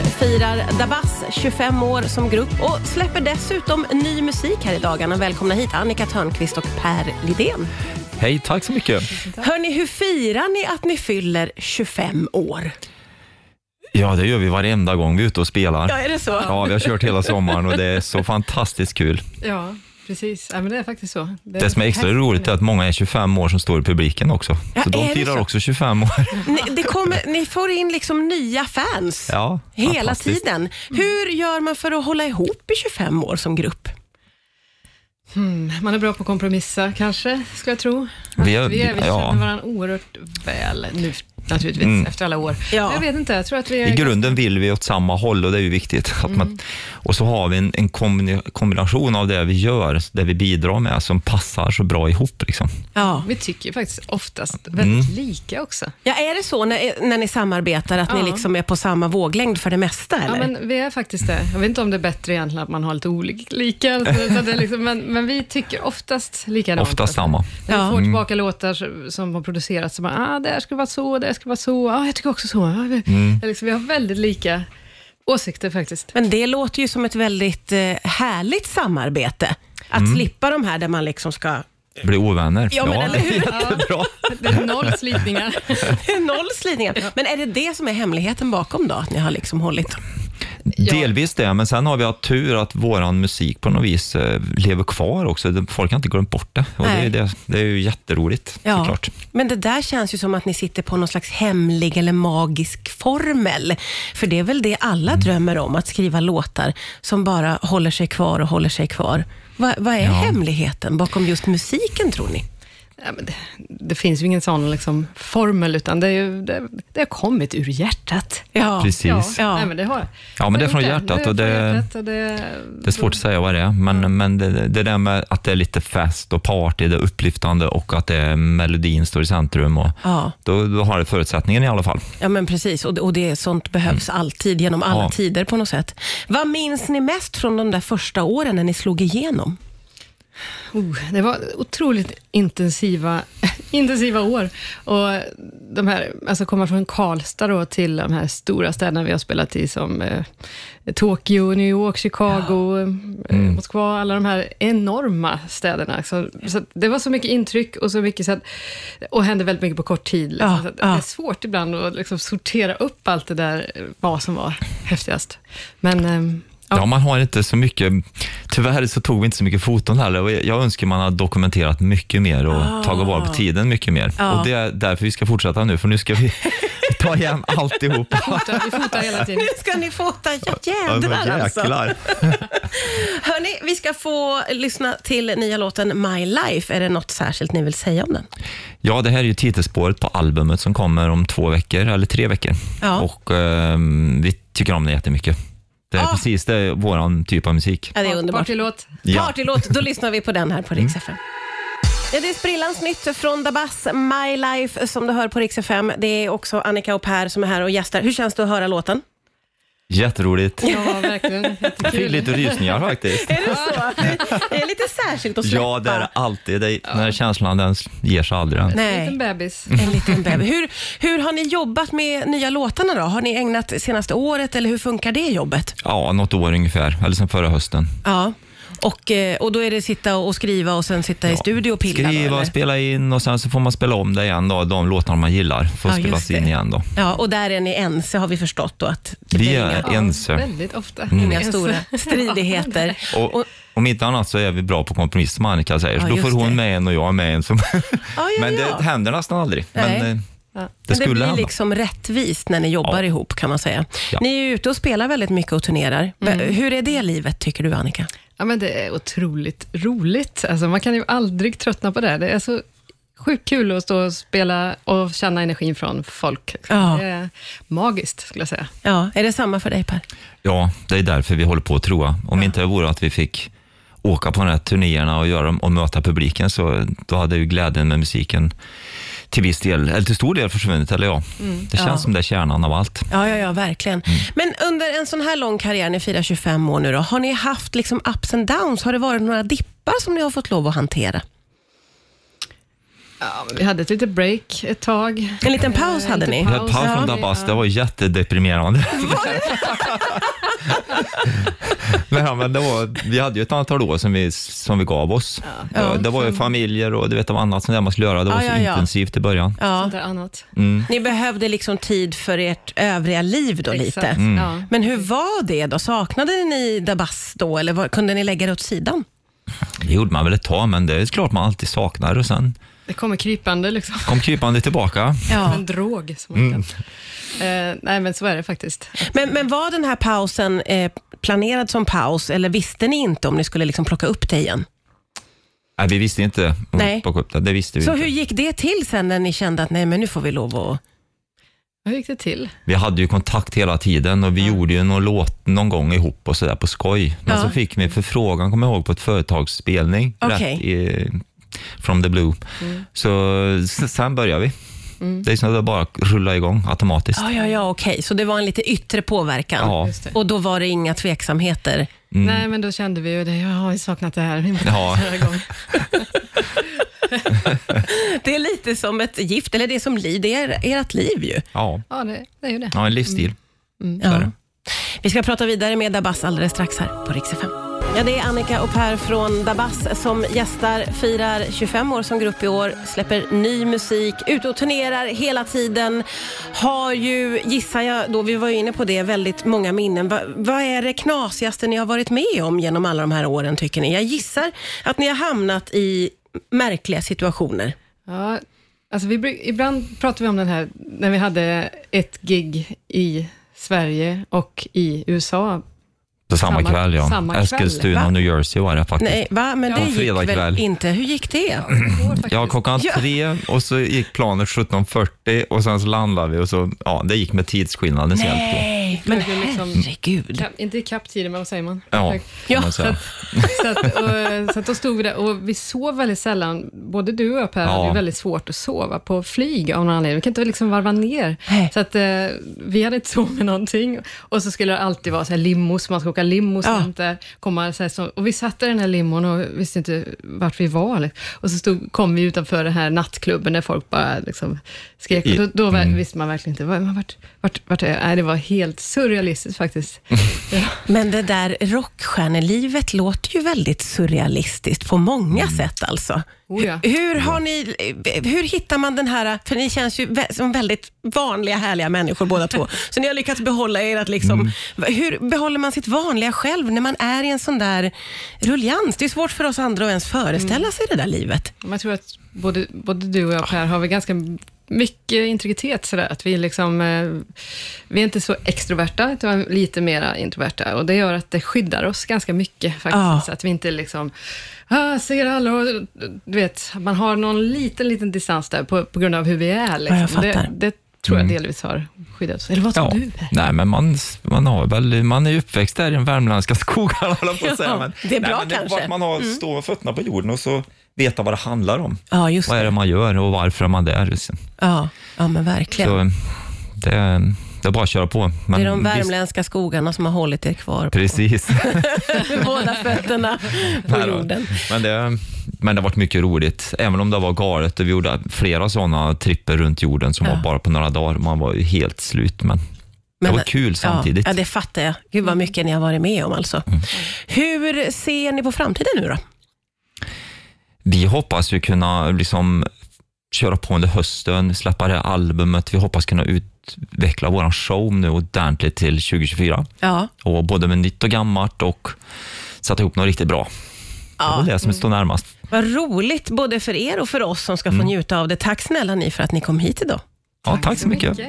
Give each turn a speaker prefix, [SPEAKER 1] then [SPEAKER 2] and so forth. [SPEAKER 1] är Dabas, 25 år som grupp och släpper dessutom ny musik här i dagarna. Välkomna hit Annika Törnqvist och Per Lidén.
[SPEAKER 2] Hej, tack så mycket.
[SPEAKER 1] Hörni, hur firar ni att ni fyller 25 år?
[SPEAKER 2] Ja, det gör vi varenda gång vi är ute och spelar.
[SPEAKER 1] Ja, är det så?
[SPEAKER 2] Ja, vi har kört hela sommaren och det är så fantastiskt kul.
[SPEAKER 3] Ja, precis. Ja, men det är faktiskt så.
[SPEAKER 2] Det som är extra roligt är att många är 25 år som står i publiken också.
[SPEAKER 1] Ja,
[SPEAKER 2] så de
[SPEAKER 1] är det
[SPEAKER 2] firar
[SPEAKER 1] så? Alltså,
[SPEAKER 2] också 25 år.
[SPEAKER 1] Ni, det kommer, ni får in liksom nya fans
[SPEAKER 2] Ja,
[SPEAKER 1] hela
[SPEAKER 2] fantastiskt.
[SPEAKER 1] tiden. Hur gör man för att hålla ihop i 25 år som grupp?
[SPEAKER 3] Man är bra på att kompromissa kanske, ska jag tro.
[SPEAKER 2] Vi är-
[SPEAKER 3] vi, är, vi
[SPEAKER 2] ja. Mm.
[SPEAKER 3] känner varandra oerhört väl nu naturligtvis, efter alla år.
[SPEAKER 1] Ja.
[SPEAKER 3] Jag vet inte, jag tror att vi är...
[SPEAKER 2] I grunden vill vi åt samma håll och det är ju viktigt. Att
[SPEAKER 1] Mm.
[SPEAKER 2] man, och så har vi en, en kombina- kombination av det vi gör, det vi bidrar med, som passar så bra ihop. Liksom.
[SPEAKER 1] Ja.
[SPEAKER 3] Vi tycker ju faktiskt oftast
[SPEAKER 2] Mm.
[SPEAKER 3] väldigt lika också.
[SPEAKER 1] ja, är det så när, när ni samarbetar, att
[SPEAKER 3] Ja.
[SPEAKER 1] ni liksom är på samma våglängd för det mesta? Eller?
[SPEAKER 3] Ja, men vi är faktiskt det. Jag vet inte om det är bättre egentligen att man har lite olika, alltså, så att det är liksom, men, men vi tycker oftast likadant.
[SPEAKER 2] Oftast Mm. samma.
[SPEAKER 3] När vi
[SPEAKER 1] Ja.
[SPEAKER 3] får tillbaka låtar som- som har producerats, som bara, ah, det här skulle vara så, det här skulle vara så, ah, jag tycker också så. Ah, vi,
[SPEAKER 2] Mm.
[SPEAKER 3] liksom, vi har väldigt lika åsikter faktiskt.
[SPEAKER 1] Men det låter ju som ett väldigt eh, härligt samarbete. Att
[SPEAKER 2] Mm.
[SPEAKER 1] slippa de här där man liksom ska...
[SPEAKER 2] Bli ovänner.
[SPEAKER 1] Ja, men eller hur?
[SPEAKER 2] Jättebra.
[SPEAKER 3] Det är noll slitningar.
[SPEAKER 1] Noll slitningar. Men är det det som är hemligheten bakom då? Att ni har liksom hållit...
[SPEAKER 2] Delvis det, men sen har vi haft tur att våran musik på något vis eh, lever kvar också. De- Folk har inte glömt bort det. Och det, är
[SPEAKER 1] Nej.
[SPEAKER 2] ju det, det är ju jätteroligt såklart.
[SPEAKER 1] Men det där känns ju som att ni sitter på någon slags hemlig eller magisk formel. För det är väl det alla
[SPEAKER 2] Mm.
[SPEAKER 1] drömmer om, att skriva låtar som bara håller sig kvar och håller sig kvar. Va, vad är hemligheten bakom just musiken tror ni?
[SPEAKER 3] Ja, men det, det finns ju ingen sån liksom, formel, utan det, är ju, det, det har kommit ur hjärtat.
[SPEAKER 1] Ja.
[SPEAKER 2] Precis.
[SPEAKER 1] Ja.
[SPEAKER 3] Nej, men det har
[SPEAKER 2] Ja, men det är
[SPEAKER 3] har
[SPEAKER 2] från
[SPEAKER 3] gjort
[SPEAKER 2] hjärtat och
[SPEAKER 3] Det är
[SPEAKER 2] det-
[SPEAKER 3] från hjärtat och det,
[SPEAKER 2] Det är svårt att säga vad det är,
[SPEAKER 1] Mm.
[SPEAKER 2] men, men det, det där med att det är lite fest och party, det är upplyftande och att det är melodin står i centrum. Och
[SPEAKER 1] Ja.
[SPEAKER 2] då, då har det förutsättningen i alla fall.
[SPEAKER 1] Ja, men precis. Och, och det, sånt behövs alltid, genom alla
[SPEAKER 2] Mm. Ja.
[SPEAKER 1] tider på något sätt. Vad minns ni mest från de där första åren när ni slog igenom?
[SPEAKER 3] Oh, det var otroligt intensiva, intensiva år. Och de här, alltså komma från Karlstad då till de här stora städerna vi har spelat i, som eh, Tokyo, New York, Chicago, eh,
[SPEAKER 1] Mm.
[SPEAKER 3] Moskva, alla de här enorma städerna. Så, så att det var så mycket intryck och så mycket så att, och hände väldigt mycket på kort tid. Liksom.
[SPEAKER 1] Ja,
[SPEAKER 3] så att
[SPEAKER 1] ja.
[SPEAKER 3] Det är svårt ibland att liksom sortera upp allt det där, eh, vad som var häftigast. Men, ehm,
[SPEAKER 2] Ja. man har inte så mycket, tyvärr så tog vi inte så mycket foton heller. Och Jag önskar man hade dokumenterat mycket mer och tagit vara på tiden mycket mer.
[SPEAKER 1] Ah. Ja.
[SPEAKER 2] Och det är därför vi ska fortsätta nu, för nu ska vi ta igen alltihop.
[SPEAKER 3] fotar, vi fotar hela tiden.
[SPEAKER 1] Nu ska ni få ta ja,
[SPEAKER 2] Ja, men
[SPEAKER 1] jädrar alltså.
[SPEAKER 2] jäklar.
[SPEAKER 1] Hörni, vi ska få lyssna till nya låten My Life. Är det något särskilt ni vill säga om den?
[SPEAKER 2] Ja, det här är ju titelspåret på albumet som kommer om två veckor, eller tre veckor.
[SPEAKER 1] Ja.
[SPEAKER 2] Och ehm, vi tycker om det jättemycket. Det är
[SPEAKER 1] Ah. Eh,
[SPEAKER 2] precis det är våran typ av musik.
[SPEAKER 1] Ja, det är underbart.
[SPEAKER 3] Partylåt.
[SPEAKER 2] Ja. Mm.
[SPEAKER 1] Partylåt, då lyssnar vi på den här på Rix FM. Ja, det är sprillans nytt från Dabas, My Life, som du hör på Rix FM. Det är också Annika och Per som är här och gästar. Hur känns det att höra låten?
[SPEAKER 2] Jätteroligt.
[SPEAKER 3] Ja, verkligen.
[SPEAKER 2] Jag fick
[SPEAKER 3] Jättekul.
[SPEAKER 2] lite rysningar faktiskt.
[SPEAKER 1] Är det så? Det är lite särskilt att släppa.
[SPEAKER 2] Ja, det är det alltid. Det är, Den här känslan, den ger sig aldrig. den.
[SPEAKER 3] En
[SPEAKER 1] Nej.
[SPEAKER 3] liten bebis.
[SPEAKER 1] En liten bebis. Hur, hur har ni jobbat med nya låtarna då? Har ni ägnat senaste året eller hur funkar det jobbet?
[SPEAKER 2] Ja, något år ungefär, eller sen förra hösten.
[SPEAKER 1] Ja. Och, eh, och då är det sitta och skriva och sen sitta i studio och pilla? då,
[SPEAKER 2] Skriva,
[SPEAKER 1] eller?
[SPEAKER 2] spela in och sen så får man spela om det igen då, de låtarna man gillar får
[SPEAKER 1] Ja, just
[SPEAKER 2] spelas in
[SPEAKER 1] det.
[SPEAKER 2] igen då.
[SPEAKER 1] Ja, och där är ni ense har vi förstått då att det
[SPEAKER 2] Vi
[SPEAKER 1] blir
[SPEAKER 2] är
[SPEAKER 1] inga,
[SPEAKER 2] ense.
[SPEAKER 3] Väldigt ofta.
[SPEAKER 1] inga
[SPEAKER 3] Ense.
[SPEAKER 1] stora stridigheter.
[SPEAKER 2] Och, om inte annat så är vi bra på kompromiss som Annika säger.
[SPEAKER 1] Ja,
[SPEAKER 2] så då
[SPEAKER 1] just
[SPEAKER 2] får hon
[SPEAKER 1] det.
[SPEAKER 2] med en och jag med en. Som...
[SPEAKER 1] Ja, ja,
[SPEAKER 2] Men det
[SPEAKER 1] ja.
[SPEAKER 2] händer nästan aldrig.
[SPEAKER 1] Nej.
[SPEAKER 2] Men eh,
[SPEAKER 3] Ja.
[SPEAKER 2] det
[SPEAKER 1] Men det
[SPEAKER 2] skulle
[SPEAKER 1] blir
[SPEAKER 2] hända.
[SPEAKER 1] liksom rättvist när ni jobbar
[SPEAKER 2] Ja.
[SPEAKER 1] ihop kan man säga.
[SPEAKER 2] Ja. Mm.
[SPEAKER 1] Ni är ju ute och spelar väldigt mycket och turnerar. Hur är det livet tycker du Annika?
[SPEAKER 3] Ja, men det är otroligt roligt. Alltså, man kan ju aldrig tröttna på det. Det är så sjukt kul att stå och spela och känna energin från folk.
[SPEAKER 1] Ja.
[SPEAKER 3] Det är magiskt, skulle jag säga.
[SPEAKER 1] Ja, är det samma för dig Per?
[SPEAKER 2] Ja, det är därför vi håller på att troa. Om inte det vore att vi fick åka på de här turnéerna och, göra, dem- och möta publiken så då hade ju glädjen med musiken till viss del, eller till stor del försvunnit, eller ja. Det känns
[SPEAKER 1] Mm. Ja.
[SPEAKER 2] som det är kärnan av allt.
[SPEAKER 1] Ja, ja, ja verkligen.
[SPEAKER 2] Mm.
[SPEAKER 1] Men under en sån här lång karriär, ni firar 25 år nu då, har ni haft liksom ups and downs? Har det varit några dippar som ni har fått lov att hantera?
[SPEAKER 3] Ja, men vi hade ett litet break ett tag.
[SPEAKER 1] En liten paus hade ni.
[SPEAKER 2] Vi hade
[SPEAKER 3] Eh, Paus,
[SPEAKER 2] paus från
[SPEAKER 1] ja.
[SPEAKER 2] Dabas, det var jättedeprimerande. Nej, men det var, vi hade ju ett antal år som vi, som vi gav oss. Det, var- det var ju familjer och du vet, det var annat som det man skulle göra. Det var
[SPEAKER 1] Ja,
[SPEAKER 2] så
[SPEAKER 1] ja, ja.
[SPEAKER 2] intensivt i början.
[SPEAKER 1] Ja.
[SPEAKER 3] Sånt där annat.
[SPEAKER 1] Ni behövde liksom tid för ert övriga liv då lite.
[SPEAKER 3] Exakt, Mm. ja.
[SPEAKER 1] Men hur var det då? Saknade ni Dabas då eller var, kunde ni lägga det åt sidan?
[SPEAKER 2] Det gjorde man väl ett tag, men det är klart man alltid saknar. Och sen
[SPEAKER 3] Det kommer krypande liksom.
[SPEAKER 2] kom krypande tillbaka.
[SPEAKER 3] Som En drog. Som man
[SPEAKER 1] Mm.
[SPEAKER 3] kallar. eh, nej, men så är det faktiskt.
[SPEAKER 1] Men, men var den här pausen eh, planerad som paus eller visste ni inte om ni skulle liksom plocka upp det igen?
[SPEAKER 2] Nej, vi visste inte om
[SPEAKER 1] Nej.
[SPEAKER 2] vi plockade upp det. Det visste vi
[SPEAKER 1] Så
[SPEAKER 2] inte.
[SPEAKER 1] hur gick det till sen när ni kände att nej men nu får vi lov att...
[SPEAKER 3] Hur gick det till?
[SPEAKER 2] Vi hade ju kontakt hela tiden och vi gjorde ju någon låt någon gång ihop och sådär på skoj. Men
[SPEAKER 1] Ja.
[SPEAKER 2] så fick vi en förfrågan, kommer jag ihåg, på ett företagsspelning.
[SPEAKER 1] Okej. Mm.
[SPEAKER 2] Rätt i, from the blue. Så s- sen började vi. Det är som att det bara rullar igång automatiskt.
[SPEAKER 1] Ja, ja, ja, okej. Så det var en lite yttre påverkan.
[SPEAKER 2] Ja.
[SPEAKER 3] Just det.
[SPEAKER 1] Och då var det inga tveksamheter.
[SPEAKER 3] Nej, men då kände vi ju det. Jag har ju saknat det här. Vi måste
[SPEAKER 2] Mm. Ja.
[SPEAKER 3] köra igång.
[SPEAKER 1] Det är lite som ett gift, eller det är som liv, det är ert liv ju.
[SPEAKER 2] Ja,
[SPEAKER 3] Ja, det, det är ju det.
[SPEAKER 2] ja en livsstil.
[SPEAKER 1] Ja.
[SPEAKER 2] det.
[SPEAKER 1] Vi ska prata vidare med Dabas alldeles strax här på Rix FM. Ja, det är Annika och Per från Dabas som gästar, firar 25 år som grupp i år, släpper ny musik, ute och turnerar hela tiden. Har ju, gissar jag då, vi var ju inne på det, väldigt många minnen. Va, vad är det knasigaste ni har varit med om genom alla de här åren tycker ni? Jag gissar att ni har hamnat i märkliga situationer.
[SPEAKER 3] Ja, alltså vi, bru- ibland pratar vi om den här, när vi hade ett gig i Sverige och i USA.
[SPEAKER 2] Så samma,
[SPEAKER 3] Samma-
[SPEAKER 2] kväll, ja.
[SPEAKER 3] samma kväll,
[SPEAKER 2] Eskilstuna
[SPEAKER 1] va?
[SPEAKER 2] och New Jersey var det faktiskt.
[SPEAKER 1] Nej, va? Men
[SPEAKER 2] Ja.
[SPEAKER 1] det
[SPEAKER 2] På
[SPEAKER 1] gick
[SPEAKER 2] fredag
[SPEAKER 1] väl
[SPEAKER 2] kväll.
[SPEAKER 1] inte? Hur gick det?
[SPEAKER 2] Ja, klockan
[SPEAKER 1] Ja.
[SPEAKER 2] tre och så gick planet 17.40 och sen så landade vi och så, ja, det gick med tidsskillnadens hjälp. då.
[SPEAKER 1] Nej, men
[SPEAKER 3] Flög ju liksom-
[SPEAKER 1] herregud.
[SPEAKER 3] Ka- inte i kapp tiden, men vad säger man?
[SPEAKER 2] Ja,
[SPEAKER 1] Ja.
[SPEAKER 2] kan man säga.
[SPEAKER 3] Så, att, och, så att då stod vi där och vi sov väldigt sällan. Både du och jag Per
[SPEAKER 2] Ja.
[SPEAKER 3] hade ju väldigt svårt att sova på flyg av någon anledning. Vi kan inte liksom varva ner.
[SPEAKER 1] Nej.
[SPEAKER 3] Så att eh, vi hade inte sovit någonting. Och så skulle det alltid vara så här limos, man ska åka limos.
[SPEAKER 1] Ja.
[SPEAKER 3] och sånt där. Komma så här, så, och vi satt i den här limon och visste inte vart vi var. liksom. Och så stod, kom vi utanför den här nattklubben där folk bara liksom skrek. Och
[SPEAKER 2] I-
[SPEAKER 3] då, då var-
[SPEAKER 1] Mm.
[SPEAKER 3] visste man verkligen inte, var- vart, vart, vart är jag? Nej, det var helt surrealistiskt faktiskt.
[SPEAKER 1] Men det där rockstjärnelivet låter ju väldigt surrealistiskt på många sätt alltså.
[SPEAKER 3] Mm. Oh ja.
[SPEAKER 1] Hur- Hur, har ni, hur hittar man den här, för ni känns ju vä- som väldigt vanliga härliga människor båda två, så ni har lyckats behålla ert,
[SPEAKER 3] Mm.
[SPEAKER 1] liksom, hur behåller man sitt vanliga själv när man är i en sån där rullians? Det är svårt för oss andra att ens
[SPEAKER 3] Mm.
[SPEAKER 1] föreställa sig det där livet.
[SPEAKER 3] Men Jag tror att både, både du och jag Per har väl ganska mycket integritet sådär, att vi liksom, eh, vi är inte så extroverta, utan lite mera introverta och det gör att det skyddar oss ganska mycket faktiskt,
[SPEAKER 1] Ja.
[SPEAKER 3] så att vi inte liksom, ah, ser alla och, du vet, man har någon liten, liten distans där på, på grund av hur vi är.
[SPEAKER 1] jag
[SPEAKER 3] Liksom.
[SPEAKER 1] fattar.
[SPEAKER 3] det, det tror jag delvis har skyddat oss. Eller vad tror
[SPEAKER 2] Ja.
[SPEAKER 3] du? Per?
[SPEAKER 2] Nej, men man, man, har väl, man är ju uppväxt där i de värmländska skogarna, höll jag på att säga. Men,
[SPEAKER 1] det är bra
[SPEAKER 2] nej,
[SPEAKER 1] kanske.
[SPEAKER 2] men
[SPEAKER 1] Mm.
[SPEAKER 2] bara att man har, står med fötterna på jorden och så veta vad det handlar om.
[SPEAKER 1] Ja, just
[SPEAKER 2] Vad är
[SPEAKER 1] det.
[SPEAKER 2] det man gör och varför är man där? Så
[SPEAKER 1] Ja, ja men verkligen.
[SPEAKER 2] det, det är bara att köra på. Men
[SPEAKER 1] Det är de
[SPEAKER 2] visst,
[SPEAKER 1] värmländska skogarna som har hållit er kvar på
[SPEAKER 2] Precis.
[SPEAKER 1] båda fötterna på
[SPEAKER 2] Nej då.
[SPEAKER 1] jorden.
[SPEAKER 2] men, det, men det har varit mycket roligt, även om det var galet. Och vi gjorde flera sådana tripper runt jorden som var bara på några dagar. Man var ju helt slut, men, det var kul samtidigt.
[SPEAKER 1] Ja, ja, det fattar jag. Gud vad mycket ni har varit med om alltså. Hur ser ni på framtiden nu då?
[SPEAKER 2] Vi hoppas ju kunna liksom köra på under hösten, släppa det här albumet. Vi hoppas kunna utveckla vår show nu ordentligt till 2024.
[SPEAKER 1] Ja,
[SPEAKER 2] Och både med nytt och gammalt och sätta ihop något riktigt bra. Det är väl det som står närmast.
[SPEAKER 1] vad roligt både för er och för oss som ska få njuta av det. Tack snälla ni för att ni kom hit idag.
[SPEAKER 2] Ja, tack så mycket.